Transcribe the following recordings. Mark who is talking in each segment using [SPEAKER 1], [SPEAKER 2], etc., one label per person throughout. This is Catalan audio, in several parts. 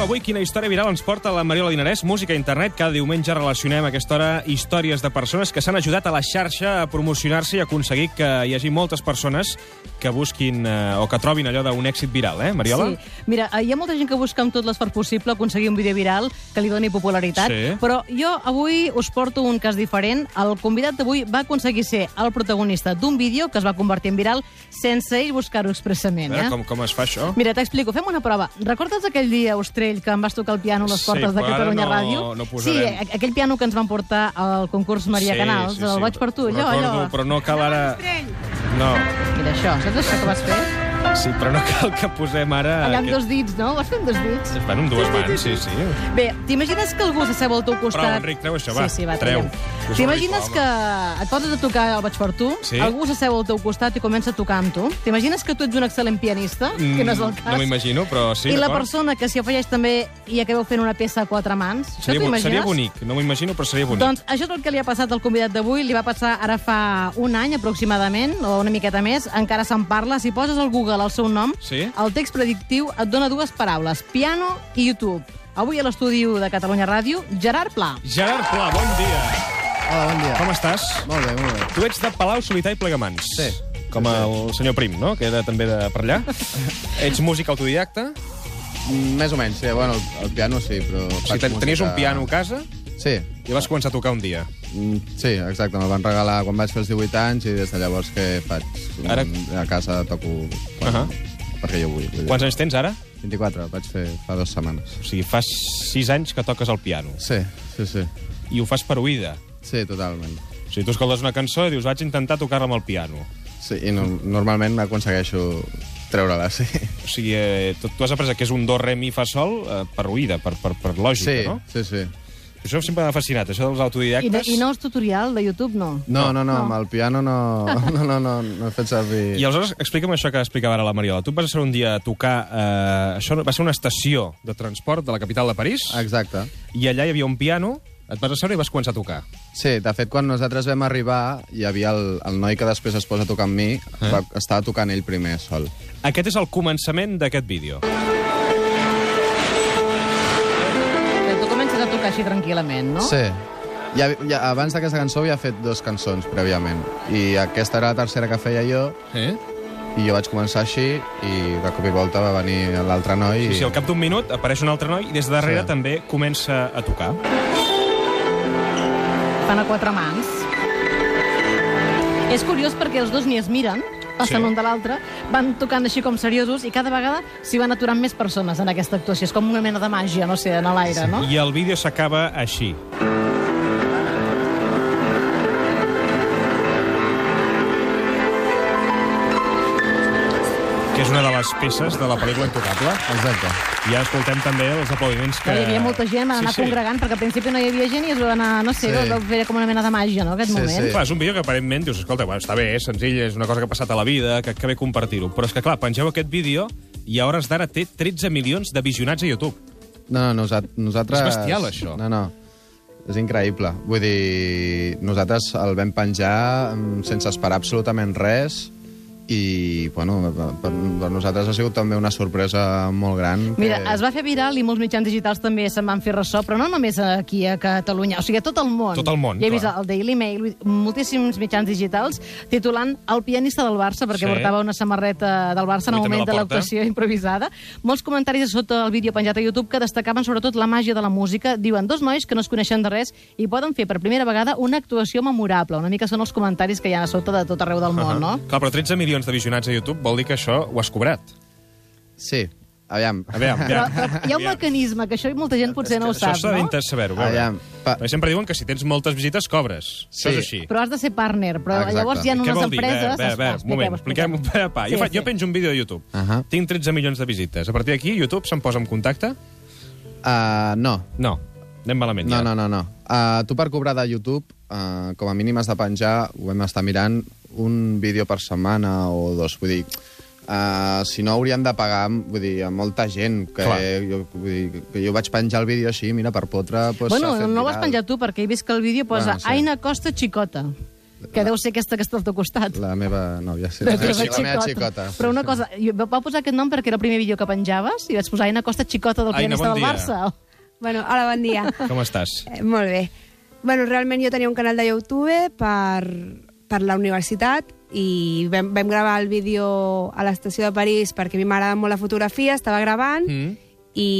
[SPEAKER 1] Avui quina història viral ens porta la Mariola Dinarès, Música a Internet. Cada diumenge relacionem a aquesta hora històries de persones que s'han ajudat a la xarxa a promocionar-se i aconseguir que hi hagi moltes persones que busquin eh, o que trobin allò d'un èxit viral, eh, Mariola?
[SPEAKER 2] Sí. Mira, eh, hi ha molta gent que busca amb tot l'esforç possible aconseguir un vídeo viral que li doni popularitat,
[SPEAKER 1] Sí.
[SPEAKER 2] però jo avui us porto un cas diferent. El convidat d'avui va aconseguir ser el protagonista d'un vídeo que es va convertir en viral sense ell buscar-ho
[SPEAKER 1] A
[SPEAKER 2] expressament.
[SPEAKER 1] veure
[SPEAKER 2] Eh?
[SPEAKER 1] com, com es fa això.
[SPEAKER 2] Mira, t'explico. Fem una prova. Recordes aquell dia, Ostrell, que em vas tocar el piano a les
[SPEAKER 1] Sí,
[SPEAKER 2] portes de
[SPEAKER 1] però ara
[SPEAKER 2] Catalunya
[SPEAKER 1] no-
[SPEAKER 2] Ràdio?
[SPEAKER 1] no
[SPEAKER 2] sí,
[SPEAKER 1] posarem.
[SPEAKER 2] a- aquell piano que ens van portar al concurs Maria
[SPEAKER 1] sí,
[SPEAKER 2] Canals.
[SPEAKER 1] sí, sí,
[SPEAKER 2] el vaig per tu,
[SPEAKER 1] ho
[SPEAKER 2] allò,
[SPEAKER 1] recordo,
[SPEAKER 2] allò.
[SPEAKER 1] Però no cal ara... No,
[SPEAKER 2] Mira això, saps això que vas fer?
[SPEAKER 1] sí, però no cal que posem ara...
[SPEAKER 2] Allà amb dos dits, no? Ho vas fer amb dos dits.
[SPEAKER 1] Bueno, amb dues mans, sí, sí.
[SPEAKER 2] Bé, t'imagines que algú s'asseu al teu costat...
[SPEAKER 1] Prou, Enric, treu això, va,
[SPEAKER 2] Sí, sí, va,
[SPEAKER 1] treu.
[SPEAKER 2] traiem.
[SPEAKER 1] Que és
[SPEAKER 2] T'imagines
[SPEAKER 1] horrible,
[SPEAKER 2] que et poses a tocar el Vaig per tu,
[SPEAKER 1] Sí.
[SPEAKER 2] algú s'asseu al teu costat i comença a tocar amb tu. T'imagines que tu ets un excel·lent pianista, que no és el
[SPEAKER 1] Mm,
[SPEAKER 2] cas.
[SPEAKER 1] No m'imagino, però sí,
[SPEAKER 2] I la
[SPEAKER 1] d'acord.
[SPEAKER 2] persona que s'hi afegeix també i acabeu fent una peça a quatre mans. Això
[SPEAKER 1] Seria,
[SPEAKER 2] t'ho
[SPEAKER 1] bo-
[SPEAKER 2] imagines?
[SPEAKER 1] seria bonic, no m'ho imagino, però seria bonic.
[SPEAKER 2] Doncs això és el que li ha passat al convidat d'avui. Li va passar ara fa un any, aproximadament, o una miqueta més. Encara se'n parla. Si poses al Google el seu nom,
[SPEAKER 1] Sí.
[SPEAKER 2] el text predictiu et dona dues paraules, piano i YouTube. Avui a l'estudi u de Catalunya Ràdio, Gerard Pla.
[SPEAKER 1] Gerard Pla, bon dia.
[SPEAKER 3] Hola, Ah, bon dia.
[SPEAKER 1] Com estàs?
[SPEAKER 3] Molt bé, molt bé.
[SPEAKER 1] Tu ets de Palau, Solità i Plegamans.
[SPEAKER 3] Sí.
[SPEAKER 1] Com el senyor Prim, no?, que era també de per allà. ets músic autodidacta.
[SPEAKER 3] Mm, Més o menys, sí. Bueno, el, el piano sí, però...
[SPEAKER 1] O
[SPEAKER 3] faig
[SPEAKER 1] sigui, ten- tenies un
[SPEAKER 3] música-
[SPEAKER 1] piano a casa
[SPEAKER 3] Sí.
[SPEAKER 1] i vas començar a tocar un dia.
[SPEAKER 3] Mm, Sí, exacte. Me'l van regalar quan vaig fer els 18 anys i des de llavors que faig... Mm,
[SPEAKER 1] Ara-
[SPEAKER 3] A casa toco... Quan,
[SPEAKER 1] Ahà.
[SPEAKER 3] Perquè jo vull. vull dir.
[SPEAKER 1] Quants anys tens ara?
[SPEAKER 3] 24, vaig fer fa dues setmanes.
[SPEAKER 1] O sigui, fa sis anys que toques el piano.
[SPEAKER 3] Sí, sí, sí.
[SPEAKER 1] I ho fas per oïda.
[SPEAKER 3] Sí, totalment.
[SPEAKER 1] O sigui, tu escoltes una cançó i dius, vaig intentar tocar-la amb el piano.
[SPEAKER 3] Sí, i no, normalment aconsegueixo treure-la, sí.
[SPEAKER 1] O sigui, eh, tu, tu has après que és un do, re, mi, fa, sol eh, per oïda, per, per, per lògica,
[SPEAKER 3] Sí,
[SPEAKER 1] no?
[SPEAKER 3] sí, sí.
[SPEAKER 1] Això sempre m'ha fascinat, això dels
[SPEAKER 2] I, no,
[SPEAKER 1] autodidactes.
[SPEAKER 2] I no és tutorial de YouTube, no.
[SPEAKER 3] No, no, no,
[SPEAKER 2] No.
[SPEAKER 3] amb el piano no, no, no, no, no he fet servir...
[SPEAKER 1] I aleshores, explica'm això que explicava ara la Mariola. Tu et vas ser un dia a tocar... Eh, això va ser una estació de transport de la capital de París,
[SPEAKER 3] Exacte.
[SPEAKER 1] i allà hi havia un piano, et vas asseure i vas començar a tocar.
[SPEAKER 3] Sí, de fet, quan nosaltres vam arribar, hi havia el, el noi que després es posa a tocar amb mi, eh? va, estava tocant ell primer, sol.
[SPEAKER 1] Aquest és el començament d'aquest vídeo.
[SPEAKER 2] Que tu comences a tocar així tranquil·lament, no?
[SPEAKER 3] Sí. Ja, ja, abans d'aquesta cançó havia fet dues cançons, prèviament. I aquesta era la tercera que feia jo,
[SPEAKER 1] Eh?
[SPEAKER 3] i jo vaig començar així, i de cop i volta va venir l'altre noi.
[SPEAKER 1] Sí, sí, al
[SPEAKER 3] i...
[SPEAKER 1] cap d'un minut apareix un altre noi i des de darrere
[SPEAKER 3] Sí.
[SPEAKER 1] també comença a tocar.
[SPEAKER 2] Fan a quatre mans. És curiós perquè els dos ni es miren, passen
[SPEAKER 1] Sí.
[SPEAKER 2] sí. un de l'altre, van tocant així com seriosos i cada vegada s'hi van aturant més persones en aquesta actuació. És com una mena de màgia, no sé, en l'aire, Ah, no?
[SPEAKER 1] I el vídeo s'acaba així. que és una de les peces de la pel·lícula Intocable.
[SPEAKER 3] Exacte.
[SPEAKER 1] I ara escoltem també els aplaudiments que...
[SPEAKER 2] Que... Hi havia molta gent, van anar sí, sí. congregant, perquè al principi no hi havia gent i es va anar, no sé,
[SPEAKER 3] Sí.
[SPEAKER 2] sí. va fer com una mena de màgia, no?, aquest
[SPEAKER 3] Sí,
[SPEAKER 2] moment.
[SPEAKER 3] sí.
[SPEAKER 1] Clar, és un vídeo que aparentment dius, escolta, bueno, està bé, és senzill, és una cosa que ha passat a la vida, que, que bé compartir-ho. Però és que, clar, pengeu aquest vídeo i a hores d'ara té 13 milions de visionats a YouTube.
[SPEAKER 3] No, no, nosa- nosaltres...
[SPEAKER 1] És bestial, això.
[SPEAKER 3] No, no. És increïble. Vull dir, nosaltres el vam penjar mm, sense esperar absolutament res i, bueno, per, per nosaltres ha sigut també una sorpresa molt gran.
[SPEAKER 2] Mira,
[SPEAKER 1] Eh,
[SPEAKER 2] es va fer viral i molts mitjans digitals també se'n van fer ressò, però no només aquí a Catalunya, o sigui, a tot el món.
[SPEAKER 1] Tot el món,
[SPEAKER 2] Ja he vist
[SPEAKER 1] clar.
[SPEAKER 2] el Daily Mail, moltíssims mitjans digitals, titulant El pianista del Barça, perquè
[SPEAKER 1] Sí.
[SPEAKER 2] portava una samarreta del Barça en
[SPEAKER 1] Avui
[SPEAKER 2] el
[SPEAKER 1] també la
[SPEAKER 2] moment de
[SPEAKER 1] porta.
[SPEAKER 2] l'actuació improvisada. Molts comentaris a sota el vídeo penjat a YouTube que destacaven sobretot la màgia de la música. Diuen dos nois que no es coneixen de res i poden fer per primera vegada una actuació memorable. Una mica són els comentaris que hi ha a sota de tot arreu del món, no?
[SPEAKER 1] Clar, però 13 milions de visionats a YouTube vol dir que això ho has cobrat.
[SPEAKER 3] Sí, aviam.
[SPEAKER 1] A veure,
[SPEAKER 2] Però,
[SPEAKER 1] ja...
[SPEAKER 2] però hi ha un mecanisme, que això molta gent potser no ho
[SPEAKER 1] Això
[SPEAKER 2] sap,
[SPEAKER 1] s'ha
[SPEAKER 2] no?
[SPEAKER 1] d'intentar saber-ho. a veure.
[SPEAKER 3] Aviam. Pa...
[SPEAKER 1] Perquè sempre diuen que si tens moltes visites cobres. Sí. Això és així.
[SPEAKER 2] Però has de ser partner, però
[SPEAKER 3] Exacte.
[SPEAKER 2] Exacte. llavors hi ha
[SPEAKER 1] Què
[SPEAKER 2] unes
[SPEAKER 1] vol dir?
[SPEAKER 2] empreses...
[SPEAKER 1] A veure, a veure, un moment, expliquem un pa, pa. Jo,
[SPEAKER 2] Sí,
[SPEAKER 1] fa,
[SPEAKER 2] sí.
[SPEAKER 1] jo penjo un vídeo a YouTube.
[SPEAKER 3] Ahà.
[SPEAKER 1] Tinc 13 milions de visites. A partir d'aquí, YouTube se'm posa en contacte?
[SPEAKER 3] Uh, no,
[SPEAKER 1] No, anem malament
[SPEAKER 3] no,
[SPEAKER 1] ja.
[SPEAKER 3] no, no. no. Uh, tu per cobrar de YouTube, uh, com a mínim has de penjar, ho hem estar mirant, un vídeo per setmana o dos, vull dir... Uh, si no, hauríem de pagar vull dir, a molta gent. Que
[SPEAKER 1] Clar.
[SPEAKER 3] jo, vull dir, que jo vaig penjar el vídeo així, mira, per potre... Pues,
[SPEAKER 2] Bueno,
[SPEAKER 3] s'ha fet
[SPEAKER 2] no ho vas
[SPEAKER 3] viral.
[SPEAKER 2] penjar tu, perquè he vist que el vídeo posa
[SPEAKER 3] Bueno, sí.
[SPEAKER 2] Aina Costa Xicota. Que deu ser aquesta que està al teu costat.
[SPEAKER 3] La meva nòvia, sí.
[SPEAKER 2] La
[SPEAKER 3] La, meva,
[SPEAKER 2] teva
[SPEAKER 3] xicota. la meva xicota.
[SPEAKER 2] Però una cosa, jo- vau posar aquest nom perquè era el primer vídeo que penjaves i vaig posar Aina Costa Xicota del
[SPEAKER 1] Aina,
[SPEAKER 2] pianista
[SPEAKER 1] bon
[SPEAKER 2] del
[SPEAKER 1] dia.
[SPEAKER 2] Barça.
[SPEAKER 4] Bueno, hola, bon dia.
[SPEAKER 1] Com estàs?
[SPEAKER 4] Eh, molt bé. Bueno, realment jo tenia un canal de YouTube per, per la universitat i vam, vam gravar el vídeo a l'estació de París perquè a mi m'agrada molt la fotografia, estava gravant
[SPEAKER 1] Mm.
[SPEAKER 4] i,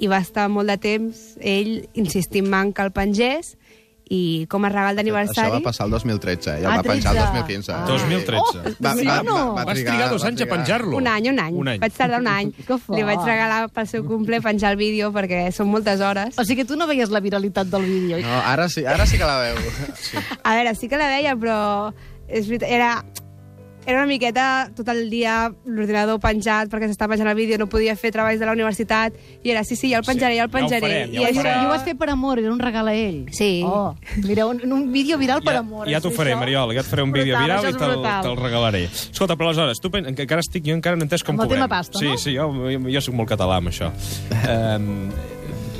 [SPEAKER 4] i va estar molt de temps ell insistint-me en que el pengés i com a regal
[SPEAKER 3] Això va
[SPEAKER 4] d'aniversari...
[SPEAKER 3] passar el 2013, i el
[SPEAKER 2] Ah,
[SPEAKER 3] eh? va penjar el
[SPEAKER 2] 13.
[SPEAKER 3] 2015.
[SPEAKER 2] Ah.
[SPEAKER 1] 2013.
[SPEAKER 2] Oh, no.
[SPEAKER 1] Vas trigar dos anys a penjar-lo.
[SPEAKER 4] Un any, un any.
[SPEAKER 1] Un any.
[SPEAKER 4] Vaig tardar un any.
[SPEAKER 2] Que fort.
[SPEAKER 4] Li vaig regalar pel seu cumple penjar el vídeo perquè són moltes hores.
[SPEAKER 2] O sigui que tu no veies la viralitat del vídeo.
[SPEAKER 3] No, ara sí, ara sí que la veu. Sí.
[SPEAKER 4] A veure, sí que la veia, però és veritat, era, era una miqueta tot el dia l'ordinador penjat perquè s'estava penjant el vídeo, no podia fer treballs de la universitat, i era, sí, sí, ja el penjaré, ja
[SPEAKER 1] ja
[SPEAKER 4] el
[SPEAKER 1] ho
[SPEAKER 4] penjaré.
[SPEAKER 1] farem, ja
[SPEAKER 4] I
[SPEAKER 1] ho
[SPEAKER 4] això-
[SPEAKER 1] farem.
[SPEAKER 2] I ho vas fer per amor, era un regal a ell.
[SPEAKER 4] Sí.
[SPEAKER 2] Oh, mira, un, un vídeo viral per
[SPEAKER 1] Ja,
[SPEAKER 2] amor.
[SPEAKER 1] ja t'ho
[SPEAKER 2] és
[SPEAKER 1] faré,
[SPEAKER 2] això?
[SPEAKER 1] Mariol, ja et faré un
[SPEAKER 4] Brutal,
[SPEAKER 1] vídeo viral
[SPEAKER 4] això
[SPEAKER 1] i
[SPEAKER 4] és
[SPEAKER 1] te'l
[SPEAKER 4] brutal.
[SPEAKER 1] te regalaré. Escolta, però aleshores, tu pen... encara estic, jo encara no he entès com
[SPEAKER 2] Amb el
[SPEAKER 1] cobrem.
[SPEAKER 2] tema pasta,
[SPEAKER 1] sí,
[SPEAKER 2] no?
[SPEAKER 1] Sí, jo, jo, jo soc molt català amb això. um,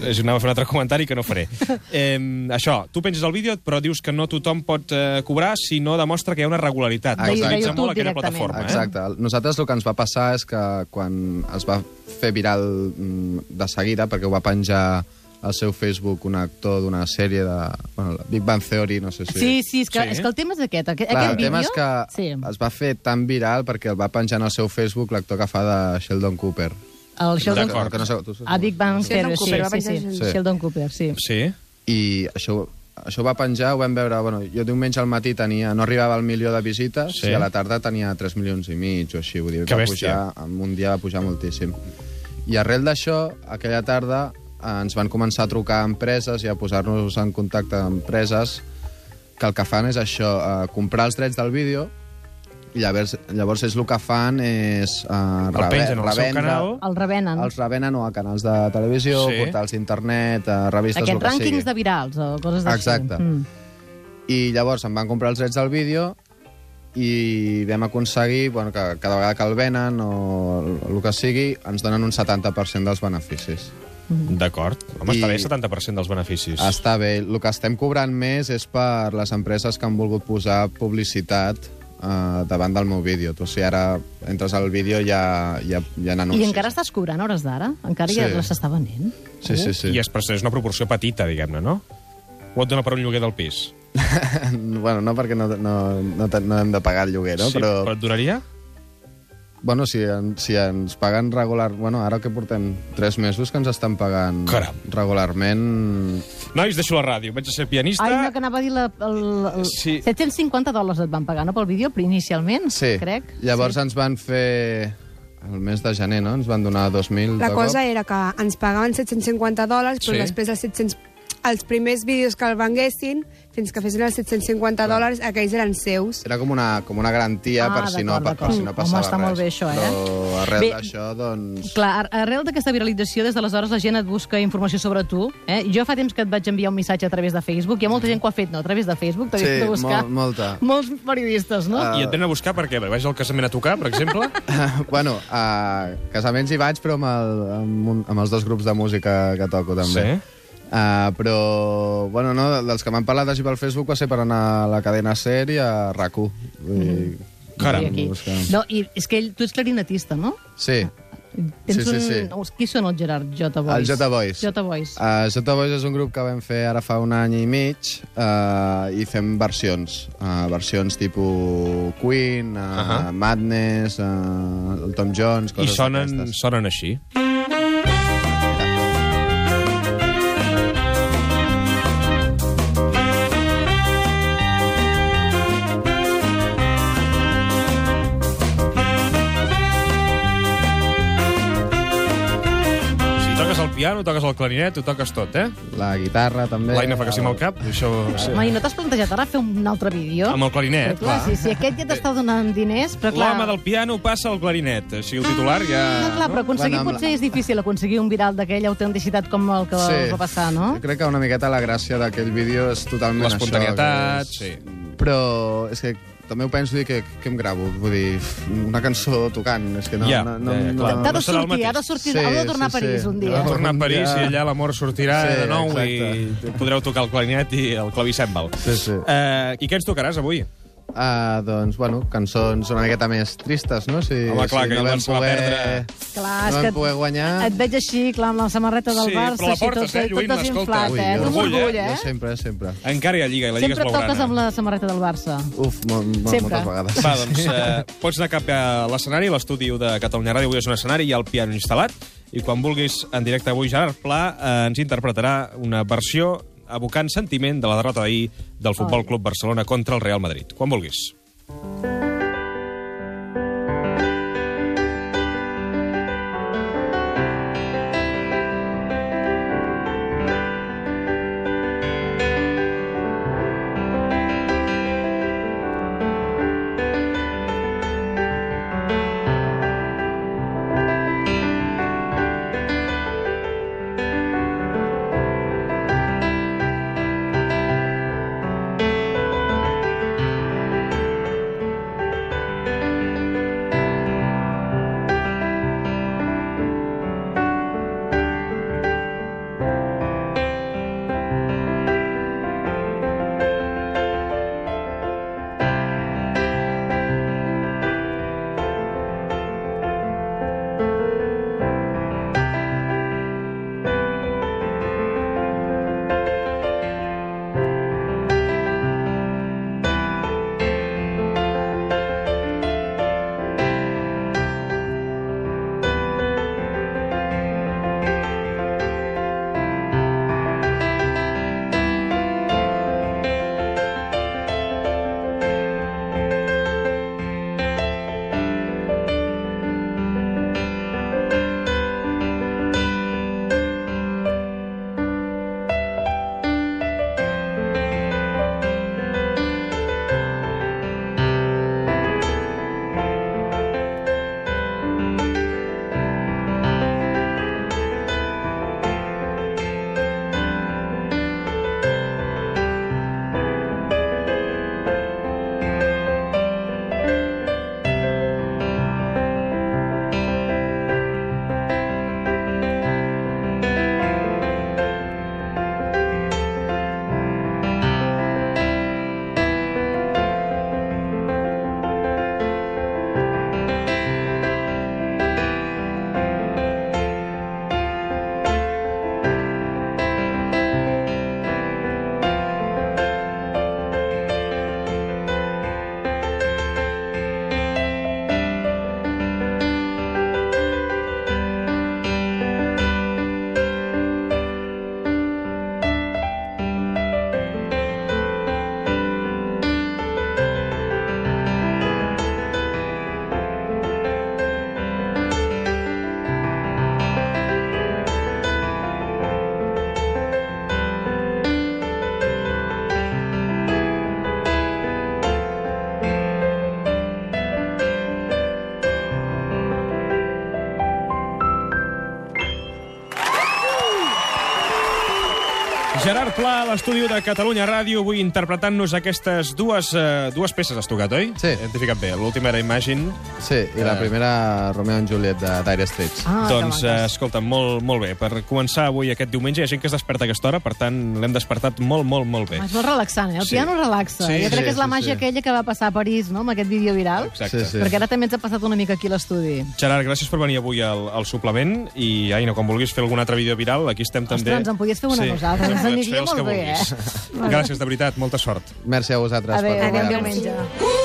[SPEAKER 1] és, anava a fer un altre comentari que no faré. Um, això, tu penses el vídeo, però dius que no tothom pot eh, cobrar si no demostra que hi ha una regularitat.
[SPEAKER 4] Ah,
[SPEAKER 3] De- de
[SPEAKER 1] Utilitza
[SPEAKER 2] YouTube
[SPEAKER 1] molt aquella
[SPEAKER 2] directament.
[SPEAKER 1] plataforma, eh?
[SPEAKER 3] Exacte. Nosaltres el que ens va passar és que quan es va fer viral mm, de seguida, perquè ho va penjar al seu Facebook un actor d'una sèrie de... Bueno, Big Bang Theory, no sé si...
[SPEAKER 2] Sí, sí, és que,
[SPEAKER 1] Sí.
[SPEAKER 2] sí. és que el tema és aquest. Aquest,
[SPEAKER 3] Clar,
[SPEAKER 2] aquest
[SPEAKER 3] el tema és
[SPEAKER 2] vídeo...
[SPEAKER 3] que
[SPEAKER 2] Sí,
[SPEAKER 3] es va fer tan viral perquè el va penjar al seu Facebook l'actor que fa de Sheldon Cooper.
[SPEAKER 2] el Sheldon... Ah,
[SPEAKER 1] D'acord.
[SPEAKER 3] Que no sé, tu saps
[SPEAKER 2] A Big Bang
[SPEAKER 4] Sheldon
[SPEAKER 2] Theory, sí,
[SPEAKER 4] Cooper, va
[SPEAKER 2] sí,
[SPEAKER 4] pensar
[SPEAKER 2] sí,
[SPEAKER 4] Sheldon.
[SPEAKER 2] sí. Sheldon Cooper, sí.
[SPEAKER 1] eh? Sí.
[SPEAKER 3] I això, això ho va penjar, ho vam veure... Bueno, jo diumenge al matí tenia, no arribava al milió de visites
[SPEAKER 1] Sí.
[SPEAKER 3] sí. i a la tarda tenia 3 milions i mig o així. Vull dir,
[SPEAKER 1] Que
[SPEAKER 3] va
[SPEAKER 1] bèstia.
[SPEAKER 3] pujar, en un dia va pujar moltíssim. I arrel d'això, aquella tarda eh, ens van començar a trucar a empreses i a posar-nos en contacte amb empreses que el que fan és això, eh, comprar els drets del vídeo i llavors, llavors és el que fan és eh,
[SPEAKER 1] El pengen al seu
[SPEAKER 3] revendre-
[SPEAKER 1] canal.
[SPEAKER 2] El revenen.
[SPEAKER 3] els revenen o a canals de televisió,
[SPEAKER 1] Sí.
[SPEAKER 3] sí. portals d'internet, a revistes, el
[SPEAKER 2] Aquests
[SPEAKER 3] que
[SPEAKER 2] rànquings
[SPEAKER 3] sigui.
[SPEAKER 2] de virals o coses Mm. d'així.
[SPEAKER 3] Exacte. I llavors em van comprar els drets del vídeo i vam aconseguir bueno, que cada vegada que el venen o el que sigui, ens donen un 70% dels beneficis.
[SPEAKER 4] Mm-hmm.
[SPEAKER 1] D'acord. Home, I... està
[SPEAKER 3] I- Ah,
[SPEAKER 1] bé 70% dels beneficis.
[SPEAKER 3] Està bé. El que estem cobrant més és per les empreses que han volgut posar publicitat eh, davant del meu vídeo. Tu, si ara entres al vídeo, ja, ja,
[SPEAKER 2] I
[SPEAKER 3] ja n'anuncies.
[SPEAKER 2] encara estàs cobrant a hores d'ara? Encara sí. ja
[SPEAKER 3] Sí.
[SPEAKER 2] s'està venent?
[SPEAKER 3] Sí, sí, sí.
[SPEAKER 1] I és, però és una proporció petita, diguem-ne, no? O et dona per un lloguer del pis?
[SPEAKER 3] bueno, no perquè no, no, no, te- no hem de pagar el lloguer, no?
[SPEAKER 1] sí, però et donaria?
[SPEAKER 3] Bueno, si, en, si ens paguen regular... Bueno, ara que portem tres mesos que ens estan pagant
[SPEAKER 1] Caram.
[SPEAKER 3] regularment...
[SPEAKER 1] Nois, deixo la ràdio. Vaig a ser pianista.
[SPEAKER 2] Ai, no, que anava a dir... La, el, el...
[SPEAKER 1] Sí.
[SPEAKER 2] 750 dòlars et van pagar, no, pel vídeo, però inicialment,
[SPEAKER 3] Sí.
[SPEAKER 2] crec.
[SPEAKER 3] Llavors ens van fer... El mes de gener, no? Ens van donar 2.000
[SPEAKER 4] La
[SPEAKER 3] de
[SPEAKER 4] cosa
[SPEAKER 3] cop.
[SPEAKER 4] era que ens pagaven 750 dòlars, però
[SPEAKER 1] Sí.
[SPEAKER 4] sí. després els 700 els primers vídeos que el venguessin, fins que fessin els 750 dòlars, aquells eren seus.
[SPEAKER 3] Era com una, com una garantia
[SPEAKER 2] Ah,
[SPEAKER 3] per, si no,
[SPEAKER 2] d'acord,
[SPEAKER 3] per, per
[SPEAKER 2] d'acord.
[SPEAKER 3] si no
[SPEAKER 2] Home,
[SPEAKER 3] passava
[SPEAKER 2] està
[SPEAKER 3] res.
[SPEAKER 2] molt bé això, eh?
[SPEAKER 3] Però arrel
[SPEAKER 2] Bé.
[SPEAKER 3] d'això, doncs...
[SPEAKER 2] Clar, ar- arrel d'aquesta viralització, des d'aleshores la gent et busca informació sobre tu. Eh? Jo fa temps que et vaig enviar un missatge a través de Facebook. Hi ha molta gent que ho ha fet, no? A través de Facebook. T'ha
[SPEAKER 3] Sí,
[SPEAKER 2] dit de buscar
[SPEAKER 3] mol- molta. Ah,
[SPEAKER 2] molts periodistes, no?
[SPEAKER 1] I et venen a buscar perquè vaig al casament a tocar, per exemple.
[SPEAKER 3] bueno, a casaments hi vaig, però amb, el, amb, un, amb els dos grups de música que toco, també.
[SPEAKER 1] Sí?
[SPEAKER 3] Uh, però, bueno, no, dels que m'han parlat així pel Facebook va ser per anar a la cadena SER i a RAC1. Mm -hmm.
[SPEAKER 1] Mm-hmm. Caram.
[SPEAKER 2] I aquí. No, i és que ell, tu ets clarinetista, no?
[SPEAKER 3] Sí.
[SPEAKER 2] Tens
[SPEAKER 3] Sí, sí,
[SPEAKER 2] un...
[SPEAKER 3] sí.
[SPEAKER 2] Qui són el Gerard J. Boys?
[SPEAKER 3] El J Boys.
[SPEAKER 2] J. Boys.
[SPEAKER 3] Uh, Sota Boys és un grup que vam fer ara fa un any i mig uh, i fem versions. Uh, versions tipus Queen, uh,
[SPEAKER 1] Ahà.
[SPEAKER 3] Madness, uh, el Tom Jones,
[SPEAKER 1] I
[SPEAKER 3] coses
[SPEAKER 1] sonen,
[SPEAKER 3] d'aquestes.
[SPEAKER 1] sonen així. Si toques el piano, toques el clarinet, ho toques tot, eh?
[SPEAKER 3] La guitarra, també. Uh,
[SPEAKER 1] L'Aina fa que sí amb el cap, això... Sí.
[SPEAKER 2] Mai, no t'has plantejat ara fer un altre vídeo?
[SPEAKER 1] Amb el clarinet,
[SPEAKER 2] Però, clar,
[SPEAKER 1] clar.
[SPEAKER 2] sí, sí, aquest ja t'està donant diners, però clar...
[SPEAKER 1] L'home del piano passa al clarinet. Així el titular ja...
[SPEAKER 2] No, clar, però aconseguir
[SPEAKER 3] Bueno, amb la-
[SPEAKER 2] potser és difícil aconseguir un viral d'aquella autenticitat com el que us va passar, no?
[SPEAKER 3] Jo crec que una miqueta la gràcia d'aquell vídeo és totalment això.
[SPEAKER 1] L'espontaneïtat,
[SPEAKER 3] que és-
[SPEAKER 1] sí.
[SPEAKER 3] Però és que també ho penso dir que, que em gravo. Vull dir, una cançó tocant. És que no,
[SPEAKER 1] Ja,
[SPEAKER 3] no, no,
[SPEAKER 1] ja, ja, clar.
[SPEAKER 3] no,
[SPEAKER 2] T'ha
[SPEAKER 1] no
[SPEAKER 2] de
[SPEAKER 1] serà el
[SPEAKER 2] sortir, ha de
[SPEAKER 1] mateix.
[SPEAKER 2] sortir,
[SPEAKER 3] Sí,
[SPEAKER 2] heu de tornar
[SPEAKER 3] sí,
[SPEAKER 2] a París
[SPEAKER 3] sí.
[SPEAKER 1] Va
[SPEAKER 2] un dia.
[SPEAKER 3] Heu
[SPEAKER 1] tornar a París
[SPEAKER 3] Ja.
[SPEAKER 1] i allà l'amor sortirà
[SPEAKER 3] Sí,
[SPEAKER 1] de nou
[SPEAKER 3] exacte.
[SPEAKER 1] i podreu tocar el clarinet i el clavicèmbal.
[SPEAKER 3] Sí, sí.
[SPEAKER 1] Eh, I què ens tocaràs avui?
[SPEAKER 3] Uh, doncs, bueno, cançons una miqueta més tristes, no? Si,
[SPEAKER 1] Home, clar,
[SPEAKER 3] si
[SPEAKER 1] que
[SPEAKER 3] no
[SPEAKER 1] llavors
[SPEAKER 3] vam
[SPEAKER 1] se va
[SPEAKER 3] poder...
[SPEAKER 1] perdre.
[SPEAKER 2] Clar,
[SPEAKER 3] no
[SPEAKER 2] és
[SPEAKER 3] vam
[SPEAKER 2] que
[SPEAKER 3] poder guanyar...
[SPEAKER 2] et veig així, clar, amb la samarreta del
[SPEAKER 1] Sí,
[SPEAKER 2] Barça,
[SPEAKER 1] però la
[SPEAKER 2] així tot,
[SPEAKER 1] portes, eh, Lluïm,
[SPEAKER 2] tot desinflat,
[SPEAKER 1] escolta. Ui,
[SPEAKER 2] eh? És un
[SPEAKER 1] orgull, eh?
[SPEAKER 2] orgull,
[SPEAKER 3] Jo
[SPEAKER 2] eh?
[SPEAKER 3] sempre, sempre.
[SPEAKER 1] Encara hi ha Lliga i la Lliga
[SPEAKER 2] Sempre
[SPEAKER 1] és
[SPEAKER 2] toques
[SPEAKER 1] blaugrana.
[SPEAKER 2] amb la samarreta del Barça.
[SPEAKER 3] Uf, mo, mo,
[SPEAKER 2] Sempre.
[SPEAKER 3] moltes vegades.
[SPEAKER 1] Va, doncs, eh, pots anar cap a l'escenari, l'estudi de Catalunya Ràdio avui és un escenari, hi ha el piano instal·lat, i quan vulguis, en directe avui, Gerard Pla eh, ens interpretarà una versió evocant sentiment de la derrota d'ahir del Futbol Club Barcelona contra el Real Madrid. Quan vulguis. Gerard Pla, a l'estudi de Catalunya Ràdio, avui interpretant-nos aquestes dues, eh, dues peces has tocat, oi?
[SPEAKER 3] Sí.
[SPEAKER 1] Hem ficat bé. L'última era Imagine.
[SPEAKER 3] Sí, i
[SPEAKER 1] eh,
[SPEAKER 3] la primera, Romeo and Juliet, de Dire Straits.
[SPEAKER 2] Ah, que
[SPEAKER 1] doncs, eh,
[SPEAKER 2] maques.
[SPEAKER 1] escolta, molt, molt bé. Per començar avui aquest diumenge, hi ha gent que es desperta a aquesta hora, per tant, l'hem despertat molt, molt, molt bé.
[SPEAKER 2] És molt relaxant, eh? El
[SPEAKER 1] Sí.
[SPEAKER 2] piano relaxa.
[SPEAKER 1] Sí,
[SPEAKER 2] jo crec
[SPEAKER 3] sí,
[SPEAKER 2] que és la
[SPEAKER 3] sí,
[SPEAKER 2] màgia
[SPEAKER 3] sí.
[SPEAKER 2] aquella que va passar a París, no?, amb aquest vídeo viral.
[SPEAKER 1] Exacte.
[SPEAKER 3] Sí, sí.
[SPEAKER 2] Perquè ara també ens ha passat una mica aquí a l'estudi.
[SPEAKER 1] Gerard, gràcies per venir avui al, al suplement i, Aina, quan vulguis fer algun altre vídeo viral, aquí estem
[SPEAKER 2] Ostres,
[SPEAKER 1] també.
[SPEAKER 2] ens en podies fer una a nosaltres, ens
[SPEAKER 1] en
[SPEAKER 2] aniria
[SPEAKER 1] pots fer els
[SPEAKER 2] molt
[SPEAKER 1] que
[SPEAKER 2] bé, eh?
[SPEAKER 1] vulguis. Gràcies, de veritat, molta sort.
[SPEAKER 3] Merci a vosaltres
[SPEAKER 2] Adéu,
[SPEAKER 3] per
[SPEAKER 2] bon
[SPEAKER 3] acompanyar-nos.
[SPEAKER 2] diumenge.
[SPEAKER 5] Uh!